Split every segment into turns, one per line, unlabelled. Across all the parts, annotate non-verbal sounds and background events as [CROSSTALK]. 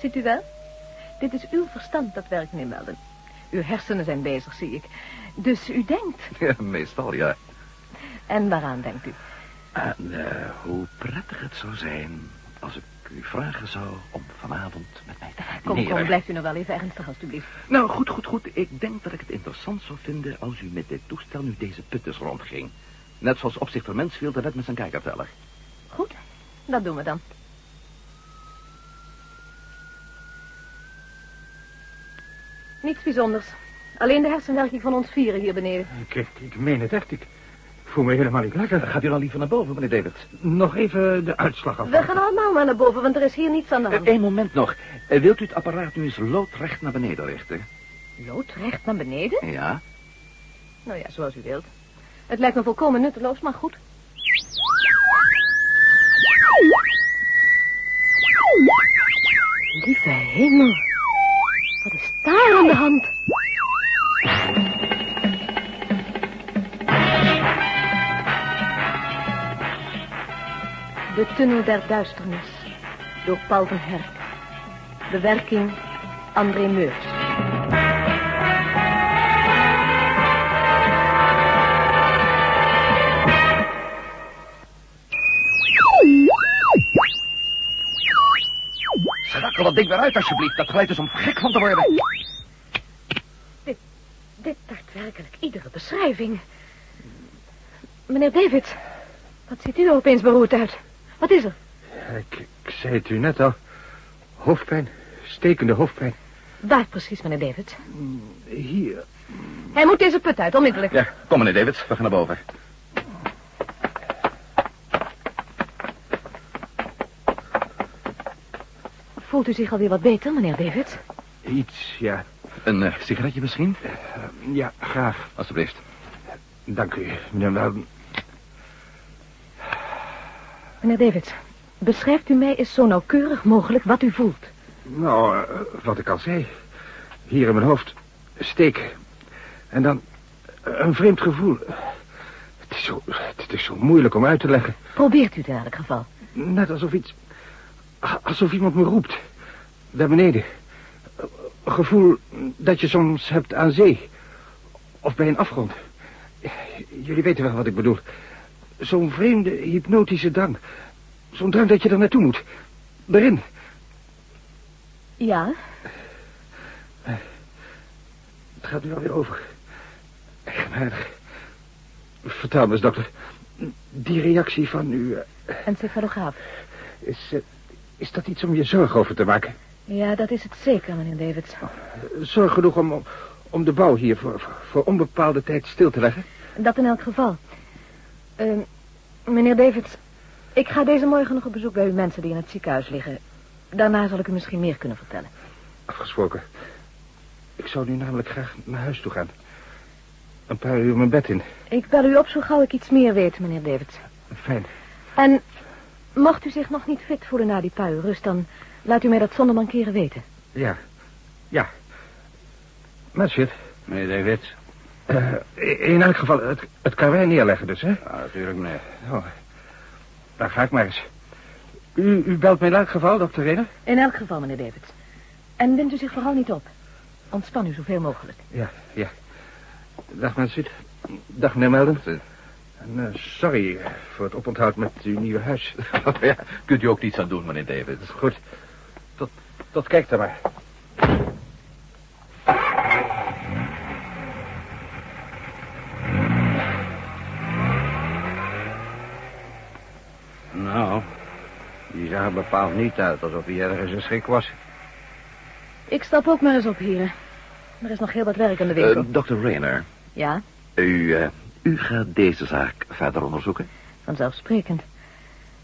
Ziet u wel? Dit is uw verstand dat werkt, meneer Melden. Uw hersenen zijn bezig, zie ik. Dus u denkt.
Ja, meestal, ja.
En waaraan denkt u?
En eh, hoe prettig het zou zijn als ik u vragen zou om vanavond met mij te gaan
Kom,
dineren.
kom, blijft u nog wel even ernstig, alstublieft.
Nou, goed, goed, goed. Ik denk dat ik het interessant zou vinden als u met dit toestel nu deze puttes rondging. Net zoals opzichter Mensfield en net met zijn kijkerteller.
Goed, dat doen we dan. Niets bijzonders. Alleen de hersenwerking van ons vieren hier beneden.
Ik, Eh, ik, ik meen het echt. Ik voel me helemaal niet lekker.
Gaat u dan liever naar boven, meneer David?
Nog even de uitslag
We
afwachten.
gaan allemaal maar naar boven, want er is hier niets aan de hand.
Eén Eh, moment nog. Eh, wilt u het apparaat nu eens loodrecht naar beneden richten?
Loodrecht naar beneden?
Ja.
Nou ja, zoals u wilt. Het lijkt me volkomen nutteloos, maar goed. Lieve hemel. Wat is daar aan de hand? De tunnel der duisternis. Door Paul van Herk. Bewerking André Meurs.
Schakel dat ding weer uit, alsjeblieft. Dat geluid is om gek van te worden.
Dit dacht werkelijk iedere beschrijving. Meneer David, wat ziet u er opeens beroerd uit? Wat is er?
Ik, ik zei het u net al. Hoofdpijn. Stekende hoofdpijn.
Waar precies, meneer David?
Hier.
Hij moet deze put uit, onmiddellijk.
Ja, kom meneer David. We gaan naar boven.
Voelt u zich alweer wat beter, meneer David?
Iets, ja.
Een eh, sigaretje misschien?
Ja, graag.
Alsjeblieft.
Dank u, meneer Melden.
Meneer David, beschrijft u mij eens zo nauwkeurig mogelijk wat u voelt.
Nou, eh, wat ik al zei. Hier in mijn hoofd. Steek. En dan eh, een vreemd gevoel. Het is zo, het is zo moeilijk om uit te leggen.
Probeert u het in elk geval.
Net alsof iets... a- Alsof iemand me roept. Daar beneden. Een gevoel dat je soms hebt aan zee. Of bij een afgrond. Jullie weten wel wat ik bedoel. Zo'n vreemde hypnotische drang. Zo'n drang dat je er naartoe moet. Erin.
Ja?
Het gaat nu alweer over. Eigenaardig. Vertel me eens, dokter. Die reactie van u... eh,
Een cefalograaf.
Is, eh, is dat iets om je zorgen over te maken?
Ja, dat is het zeker, meneer David.
Zorg genoeg om, om- om de bouw hier voor, voor- voor onbepaalde tijd stil te leggen?
Dat in elk geval. Ehm, meneer David, ik ga deze morgen nog op bezoek bij uw mensen die in het ziekenhuis liggen. Daarna zal ik u misschien meer kunnen vertellen.
Afgesproken. Ik zou nu namelijk graag naar huis toe gaan. Een paar uur mijn bed in.
Ik bel u op zo gauw ik iets meer weet, meneer David.
Fijn.
En mocht u zich nog niet fit voelen na die paar uur rust, dan laat u mij dat zonder mankeren weten.
Ja. Ja. Mansfield,
Meneer David?
eh, in elk geval het, het karwei neerleggen dus, hè?
Ja, natuurlijk, meneer.
Nou, dan ga ik maar eens. U, u belt mij in elk geval, dokter Renner?
In elk geval, meneer David. En wint u zich vooral niet op. Ontspan u zoveel mogelijk.
Ja, ja. Dag, Mansfield. Dag, meneer Melden.
Eh.
En, eh, sorry voor het oponthoud met uw nieuwe huis.
eh, [LAUGHS] ja, kunt u ook niets aan doen, meneer David.
Goed. Tot, tot kijk dan maar.
Nou, die zag er bepaald niet uit alsof hij ergens een schrik was.
Ik stap ook maar eens op hier. Er is nog heel wat werk aan de winkel.
Dr. Eh, Rayner,
Ja,
u, eh, u gaat deze zaak verder onderzoeken?
vanzelfsprekend.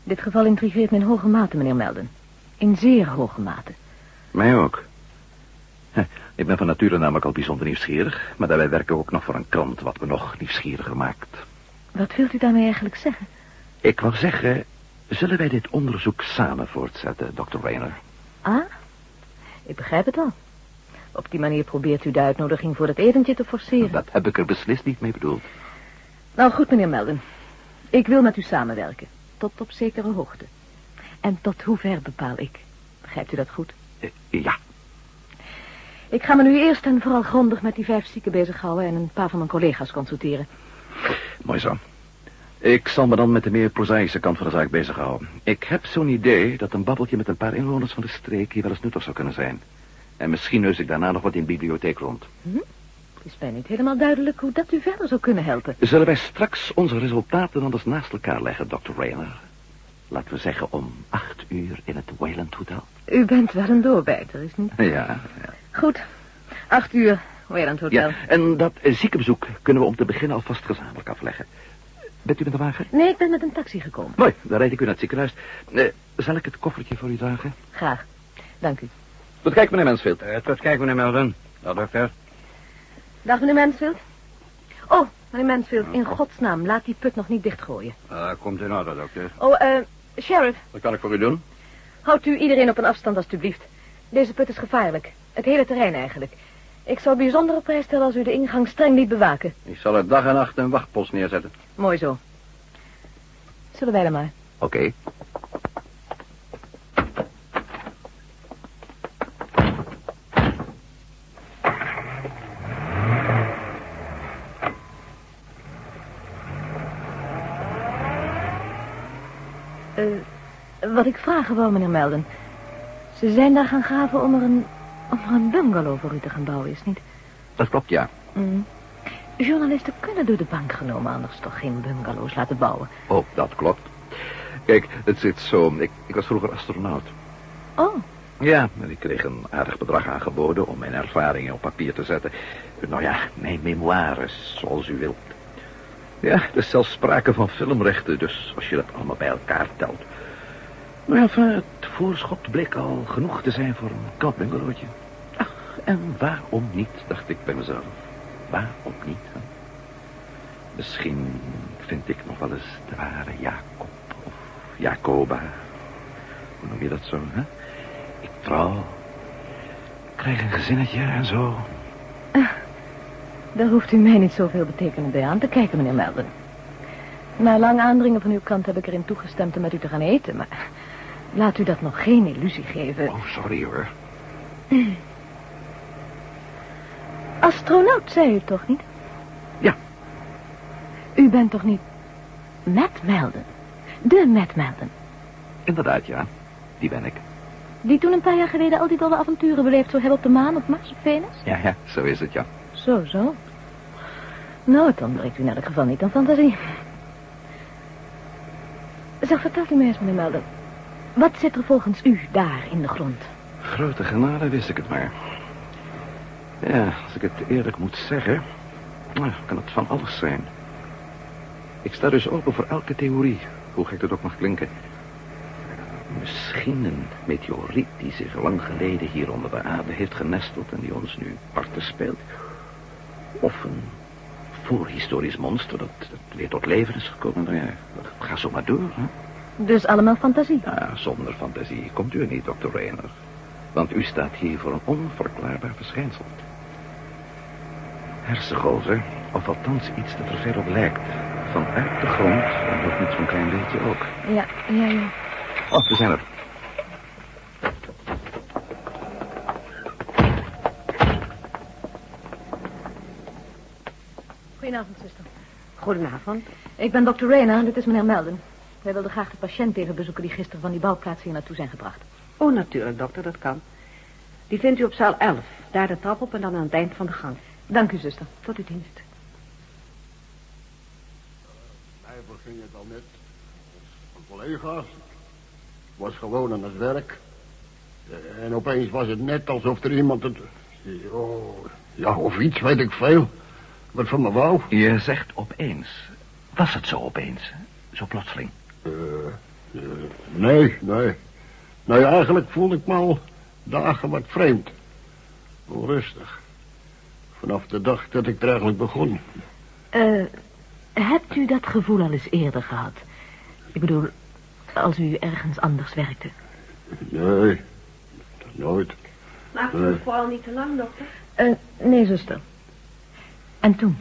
Dit geval intrigeert me in hoge mate, meneer Melden. In zeer hoge mate.
Mij ook. Hè, Ik ben van nature namelijk al bijzonder nieuwsgierig, maar daarbij werken we ook nog voor een krant wat me nog nieuwsgieriger maakt.
Wat wilt u daarmee eigenlijk zeggen?
Ik wou zeggen, zullen wij dit onderzoek samen voortzetten, Dr. Rayner?
Ah, ik begrijp het al. Op die manier probeert u de uitnodiging voor het etentje te forceren.
Dat heb ik er beslist niet mee bedoeld.
Nou goed, meneer Melden. Ik wil met u samenwerken. Tot op zekere hoogte. En tot hoe ver bepaal ik. Begrijpt u dat goed?
Eh, ja,
Ik ga me nu eerst en vooral grondig met die vijf zieken bezighouden... en een paar van mijn collega's consulteren.
mooi zo. Ik zal me dan met de meer prozaïsche kant van de zaak bezighouden. Ik heb zo'n idee dat een babbeltje met een paar inwoners van de streek hier wel eens nuttig zou kunnen zijn. En misschien neus ik daarna nog wat in de bibliotheek rond.
Het is mij niet helemaal duidelijk hoe dat u verder zou kunnen helpen.
Zullen wij straks onze resultaten dan eens naast elkaar leggen, Dr. Rayner? Laten we zeggen om acht uur in het Wayland Hotel.
U bent wel een doorbijter, is niet?
Ja,
Goed. Acht uur, Wayland Hotel.
ja. En dat eh, ziekenbezoek kunnen we om te beginnen alvast gezamenlijk afleggen. Bent u met de wagen?
Nee, ik ben met een taxi gekomen.
Mooi, dan rijd ik u naar het ziekenhuis. Eh, zal ik het koffertje voor u dragen?
Graag. Dank u.
Tot kijk, meneer Mansfield.
Eh, tot kijk, meneer Melden. Nou, dokter.
Dag, meneer Mansfield. Oh, meneer Mansfield, in godsnaam, laat die put nog niet dichtgooien.
Eh, komt in orde, dokter.
Oh, eh, sheriff,
Wat kan ik voor u doen?
houdt u iedereen op een afstand alstublieft. Deze put is gevaarlijk. Het hele terrein eigenlijk. Ik zou bijzonder op prijs stellen als u de ingang streng liet bewaken.
Ik zal er dag en nacht een wachtpost neerzetten.
Mooi zo. Zullen wij dan maar.
Oké.
Eh, wat ik vragen wou, meneer Melden. Ze zijn daar gaan graven om er een, om er een bungalow voor u te gaan bouwen, is het niet?
Dat klopt, ja.
Mm. Journalisten kunnen door de bank genomen anders toch geen bungalows laten bouwen.
Oh, dat klopt. Kijk, het zit zo. Ik, ik was vroeger astronaut.
Oh,
Ja, en ik kreeg een aardig bedrag aangeboden om mijn ervaringen op papier te zetten. Nou ja, mijn memoires, zoals u wilt. Ja, er is zelfs sprake van filmrechten, dus als je dat allemaal bij elkaar telt. Maar ja, enfin, het voorschot bleek al genoeg te zijn voor een koud bungalowtje. Ach, en waarom niet, dacht ik bij mezelf. Waarom niet, hè? Misschien vind ik nog wel eens de ware Jacob of Jacoba. Hoe noem je dat zo, hè? Ik trouw. Krijg een gezinnetje en zo.
daar hoeft u mij niet zoveel betekenend bij aan te kijken, meneer Melden. Na lang aandringen van uw kant heb ik erin toegestemd om met u te gaan eten, maar... Laat u dat nog geen illusie geven.
Oh, sorry hoor.
Astronaut, zei u toch niet?
Ja.
U bent toch niet... Matt Melden? De Matt Melden.
Inderdaad, ja. Die ben ik.
Die toen een paar jaar geleden al die dolle avonturen beleefd zou hebben op de maan, op Mars, op Venus?
Ja, ja. Zo is het, ja.
Zo, zo. Nou, dan breekt u in elk geval niet aan fantasie. Zeg, vertelt u mij eens, meneer Melden. Wat zit er volgens u daar in de grond?
Grote genade wist ik het maar. Ja, als ik het eerlijk moet zeggen... nou, kan het van alles zijn. Ik sta dus open voor elke theorie. Hoe gek dat ook mag klinken. Misschien een meteoriet die zich lang geleden hier onder de aarde heeft genesteld... en die ons nu parten speelt. Of een voorhistorisch monster dat, dat weer tot leven is gekomen. Nou ja, ga zo maar door, hè.
Dus allemaal fantasie.
Ja, zonder fantasie komt u er niet, dokter Rayner. Want u staat hier voor een onverklaarbaar verschijnsel. Hersengolven, of althans iets dat er veel op lijkt. Vanuit de grond, en dat niet zo'n klein beetje ook.
Ja, ja, ja.
Oh, we zijn er.
Goedenavond, zuster.
Goedenavond.
Ik ben dokter Rayner en dit is meneer Melden. Wij wilden graag de patiënt even bezoeken die gisteren van die bouwplaats hier naartoe zijn gebracht.
Oh, natuurlijk, dokter, dat kan. Die vindt u op zaal 11. Daar de trap op en dan aan het eind van de gang.
Dank u, zuster.
Tot uw dienst.
Hij beging het al net. Een collega. Was gewoon aan het werk. Eh, En opeens was het net alsof er iemand het... Oh, ja, of iets, weet ik veel. Wat van me wou.
Je zegt opeens. Was het zo opeens? Zo plotseling.
Eh, eh, nee, nee. Nou ja, eigenlijk voelde ik me al dagen wat vreemd. Onrustig. Vanaf de dag dat ik er eigenlijk begon.
Eh, hebt u dat gevoel al eens eerder gehad? Ik bedoel, als u ergens anders werkte.
Nee, nooit.
Maakt
u het
vooral niet te lang, dokter?
Eh, nee, zuster. En toen?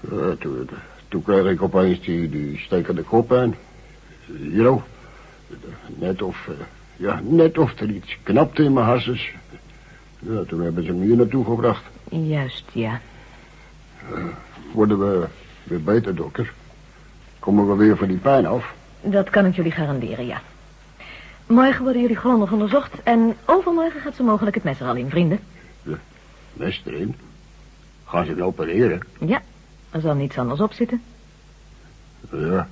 Ja, Eh, toen, toen kreeg ik opeens die, die stekende kop aan. Hier ook. Net of, eh, Ja, net of er iets knapte in mijn harses. Ja, toen hebben ze hem hier naartoe gebracht.
Juist, ja.
Worden we weer beter, dokter? Komen we weer van die pijn af?
Dat kan ik jullie garanderen, ja. Morgen worden jullie grondig onderzocht... en overmorgen gaat ze mogelijk het mes er al in, vrienden.
Mes erin. Gaan ze hem opereren?
Ja, er zal niets anders op zitten.
Ja.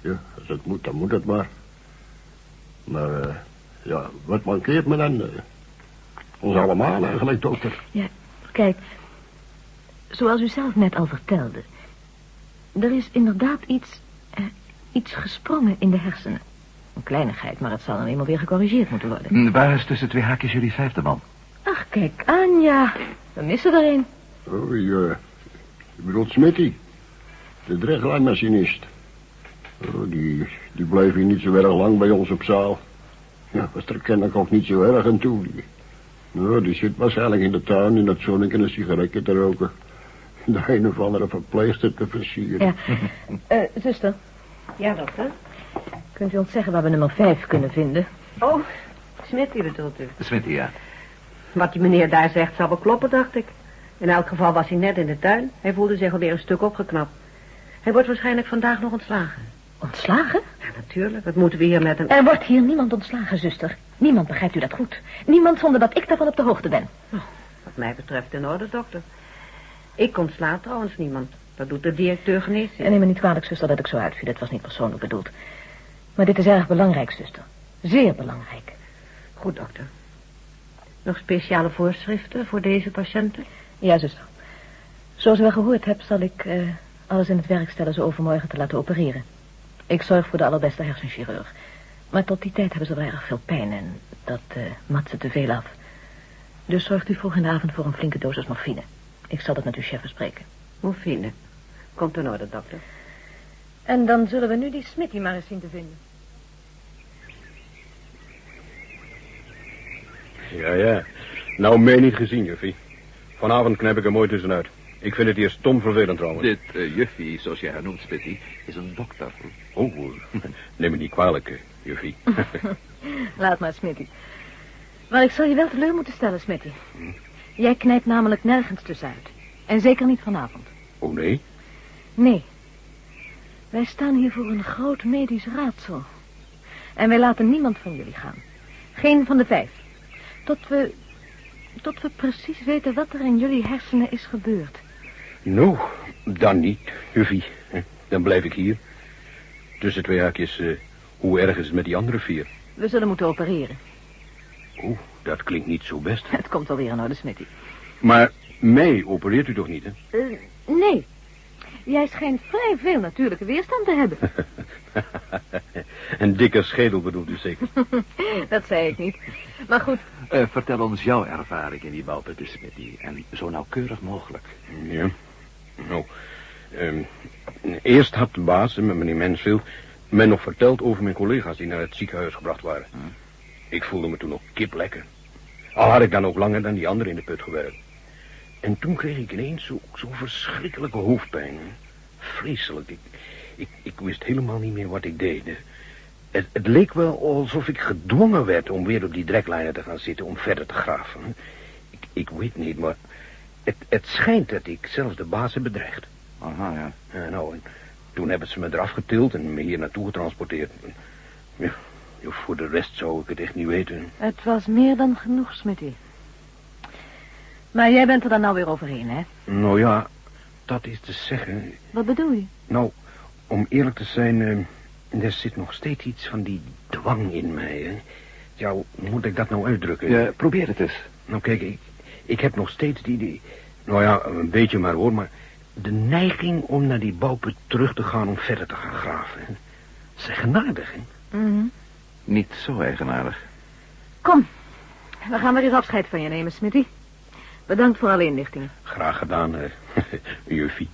Ja, als het moet, dan moet het maar. Maar, eh, ja, wat mankeert me dan? eh? ons allemaal eigenlijk, dokter.
Kijk, zoals u zelf net al vertelde... er is inderdaad iets, eh, iets gesprongen in de hersenen. Een kleinigheid, maar het zal dan eenmaal weer gecorrigeerd moeten worden.
Hm, Waar is tussen twee haakjes jullie vijfde man?
Ach, kijk, Anja. We missen er een.
Oh, ja. Je bedoelt Smitty. De draglijnmachinist. Oh, die, die bleef hier niet zo erg lang bij ons op zaal. Ja, was er kennelijk ook niet zo erg aan toe. Die, nou, die zit waarschijnlijk in de tuin in dat zonnetje een sigaretje te roken. De een of andere verpleegster te versieren.
Ja. Eh, zuster,
Ja, dokter.
kunt u ons zeggen waar we nummer 5 kunnen vinden?
Oh, Smit, die bedoelt u.
Smitty, ja.
Wat die meneer daar zegt zal wel kloppen, dacht ik. In elk geval was hij net in de tuin. Hij voelde zich alweer een stuk opgeknapt. Hij wordt waarschijnlijk vandaag nog ontslagen.
Ontslagen?
Ja, natuurlijk. Wat moeten we hier met hem...
Er wordt hier niemand ontslagen, zuster. Niemand begrijpt u dat goed. Niemand zonder dat ik daarvan op de hoogte ben.
Wat mij betreft in orde, dokter. Ik ontsla trouwens niemand. Dat doet de directeur geneesheer.
En Eh, neem me niet kwalijk, zuster, dat ik zo uitviel. Dat was niet persoonlijk bedoeld. Maar dit is erg belangrijk, zuster. Zeer belangrijk.
Goed, dokter. Nog speciale voorschriften voor deze patiënten?
Ja, zuster. Zoals u wel gehoord hebt, zal ik eh, alles in het werk stellen ze overmorgen te laten opereren. Ik zorg voor de allerbeste hersenchirurg. Maar tot die tijd hebben ze wel erg veel pijn en dat eh mat ze te veel af. Dus zorgt u vroeg in de avond voor een flinke dosis morfine. Ik zal dat met uw chef bespreken.
Morfine. Komt in orde, dokter.
En dan zullen we nu die Smitty maar eens zien te vinden.
Ja, ja. Nou, mee niet gezien, juffie. Vanavond knijp ik er mooi tussenuit. Ik vind het hier stom vervelend trouwens.
Dit eh, juffie, zoals jij haar noemt, Smitty, is een dokter.
Oh, eh, neem me niet kwalijk, eh, juffie.
Laat maar, Smitty. Maar ik zal je wel teleur moeten stellen, Smitty. Jij knijpt namelijk nergens tussenuit. En zeker niet vanavond.
Oh, nee?
Nee. Wij staan hier voor een groot medisch raadsel. En wij laten niemand van jullie gaan. Geen van de vijf. Tot we... Tot we precies weten wat er in jullie hersenen is gebeurd.
Nou, dan niet, juffie. Eh, Dan blijf ik hier. Tussen twee haakjes, eh, hoe erg is het met die andere vier?
We zullen moeten opereren.
Oeh, dat klinkt niet zo best.
Het komt alweer in orde, Smitty.
Maar mij opereert u toch niet, hè?
Eh, nee. Jij schijnt vrij veel natuurlijke weerstand te
[LAUGHS]
hebben.
Een dikke schedel bedoelt u zeker.
Dat zei ik niet. Maar goed,
Eh, vertel ons jouw ervaring in die bouwputten, Smitty. En zo nauwkeurig mogelijk.
Ja. Nou, ehm, eerst had de baas, met meneer Mansfield, mij nog verteld over mijn collega's die naar het ziekenhuis gebracht waren. Ik voelde me toen ook kip lekker. Al had ik dan ook langer dan die anderen in de put gewerkt. En toen kreeg ik ineens zo- zo'n verschrikkelijke hoofdpijn. Vreselijk. Ik, ik, ik wist helemaal niet meer wat ik deed. Het, het leek wel alsof ik gedwongen werd om weer op die dreklijnen te gaan zitten om verder te graven. Ik, ik weet niet, maar het, het schijnt dat ik zelfs de baas heb bedreigd.
Aha, ja.
Ja, nou, en toen hebben ze me eraf getild en me hier naartoe getransporteerd. En, Ja, ja, voor de rest zou ik het echt niet weten.
Het was meer dan genoeg, Smitty. Maar jij bent er dan nou weer overheen, hè?
Nou ja, dat is te zeggen.
Wat bedoel je?
Nou, om eerlijk te zijn, eh, er zit nog steeds iets van die dwang in mij. Hè. Ja, hoe moet ik dat nou uitdrukken?
Ja, probeer het eens.
Nou kijk, ik, ik heb nog steeds die, die... Nou ja, een beetje maar hoor, maar... De neiging om naar die bouwput terug te gaan om verder te gaan graven. hè. Zeg genadig, hè?
Mhm.
Niet zo eigenaardig.
Kom, we gaan weer eens afscheid van je nemen, Smitty. Bedankt voor alle inlichtingen.
Graag gedaan, eh, [LAUGHS] juffie.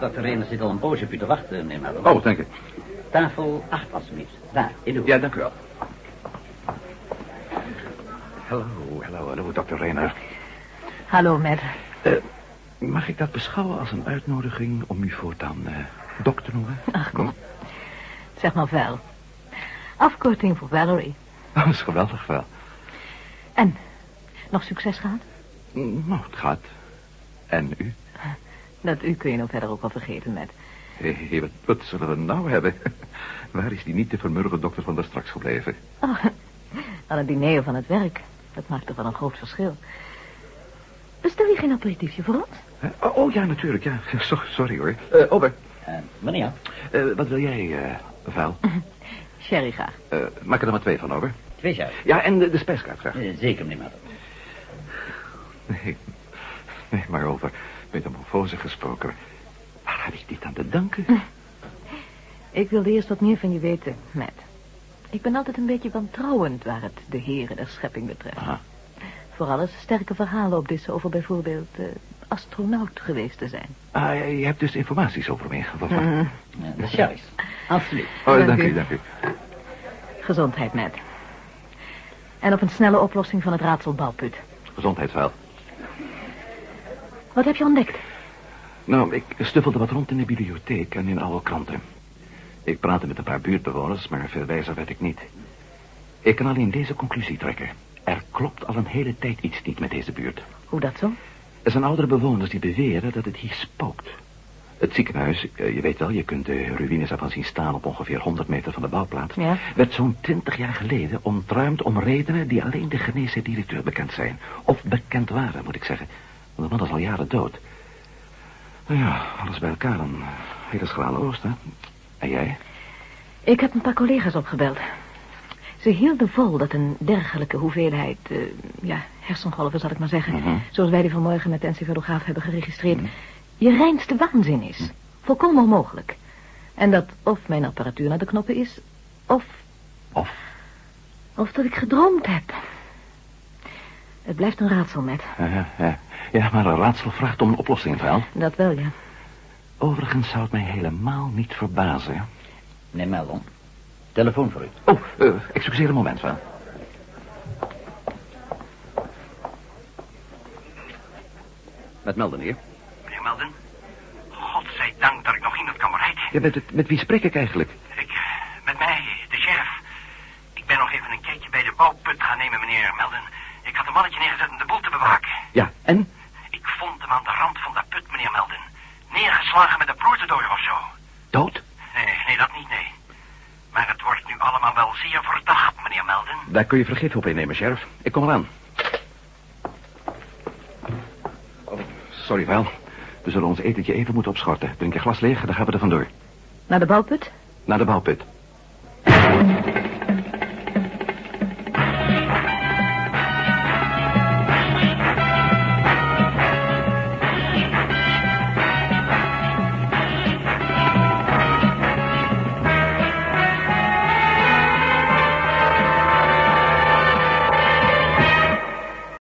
Dat trainer zit al een poosje op u te wachten, meneer Madden.
Oh, dank u.
Tafel 8, alsjeblieft. Daar, in de hoek.
Ja, dank u wel. Hallo, hallo, hallo, dokter Reiner.
Hallo, Matt.
Eh, mag ik dat beschouwen als een uitnodiging om u voortaan eh dokter te noemen?
Ach, kom. Zeg maar Val. Afkorting voor Valerie.
Oh, Dat is geweldig wel.
En, nog succes gehad?
Nou, het gaat. En u?
Dat u kun je nou verder ook al vergeten, Matt.
Hé, hé, wat, wat zullen we nou hebben? [LAUGHS] Waar is die niet te vermurgen dokter van daar straks gebleven?
Oh, [LAUGHS] aan het diner van het werk. Dat maakt toch wel een groot verschil. Bestel je geen aperitiefje voor ons?
Hè? Oh, oh, ja, natuurlijk, ja. [LAUGHS] So- sorry hoor. Eh Ober,
Eh, wanneer?
eh, wat wil jij, eh Val?
Sherry graag.
Eh, maak er dan maar twee van, Ober.
Twee jaar.
Ja, en de, de spijskaart graag.
Eh, zeker, meneer Matter.
Nee, nee, maar over metamorfose gesproken. Waar heb ik dit aan te danken?
Ik wilde eerst wat meer van je weten, Matt. Ik ben altijd een beetje wantrouwend waar het de heren der schepping betreft.
Aha.
Vooral als er sterke verhalen op dit over bijvoorbeeld eh, astronaut geweest te zijn.
Ah, je hebt dus informaties over me ingewonnen.
Eh, de sherry's. Absoluut.
Oh, dank,
Dank
u,
u.
dank u.
Gezondheid, Matt. En op een snelle oplossing van het raadsel balput.
Gezondheidsvuil.
Wat heb je ontdekt?
Nou, ik stuffelde wat rond in de bibliotheek en in alle kranten. Ik praatte met een paar buurtbewoners, maar veel wijzer werd ik niet. Ik kan alleen deze conclusie trekken. Er klopt al een hele tijd iets niet met deze buurt.
Hoe dat zo?
Er zijn oudere bewoners die beweren dat het hier spookt. Het ziekenhuis, eh, je weet wel, je kunt de ruïnes ervan zien staan op ongeveer 100 meter van de bouwplaats.
Ja.
Werd zo'n 20 jaar geleden ontruimd om redenen die alleen de geneesheer directeur bekend zijn. Of bekend waren, moet ik zeggen. Want de man is al jaren dood. Nou ja, alles bij elkaar een hele schrale oost, hè? En jij?
Ik heb een paar collega's opgebeld. Ze hielden vol dat een dergelijke hoeveelheid, eh, ja, hersengolven zal ik maar zeggen...
Mhm.
zoals wij die vanmorgen met de encephalograaf hebben geregistreerd... je reinste waanzin is. Volkomen onmogelijk. En dat of mijn apparatuur naar de knoppen is... of,
Of?
of dat ik gedroomd heb. Het blijft een raadsel, met.
Eh, eh, ja, maar een raadsel vraagt om een oplossing, wel.
Dat wel, ja.
Overigens zou het mij helemaal niet verbazen.
Meneer Meldon, telefoon voor u.
Oh, eh, excuseer een moment, wel.
Met melden, heer.
Meneer Melden? Godzijdank dat ik nog iemand kan bereiken. Ja, met, met wie spreek ik eigenlijk? Ik, eh, met mij, de sheriff. Ik ben nog even een kijkje bij de bouwput gaan nemen, meneer Melden. Ik had een mannetje neergezet om de boel te bewaken. Ja, en? Ik vond hem aan de rand van de put, meneer Melden. Neergeslagen met een ploertendooier of zo. Dood? Nee, nee, dat niet, nee. Maar het wordt nu allemaal wel zeer verdacht, meneer Melden. Daar kun je vergif op innemen, sheriff. Ik kom eraan. Oh, Sorry, wel. We zullen ons etentje even moeten opschorten. Drink je glas leeg, dan gaan we er vandoor.
Naar de bouwput?
Naar de bouwput.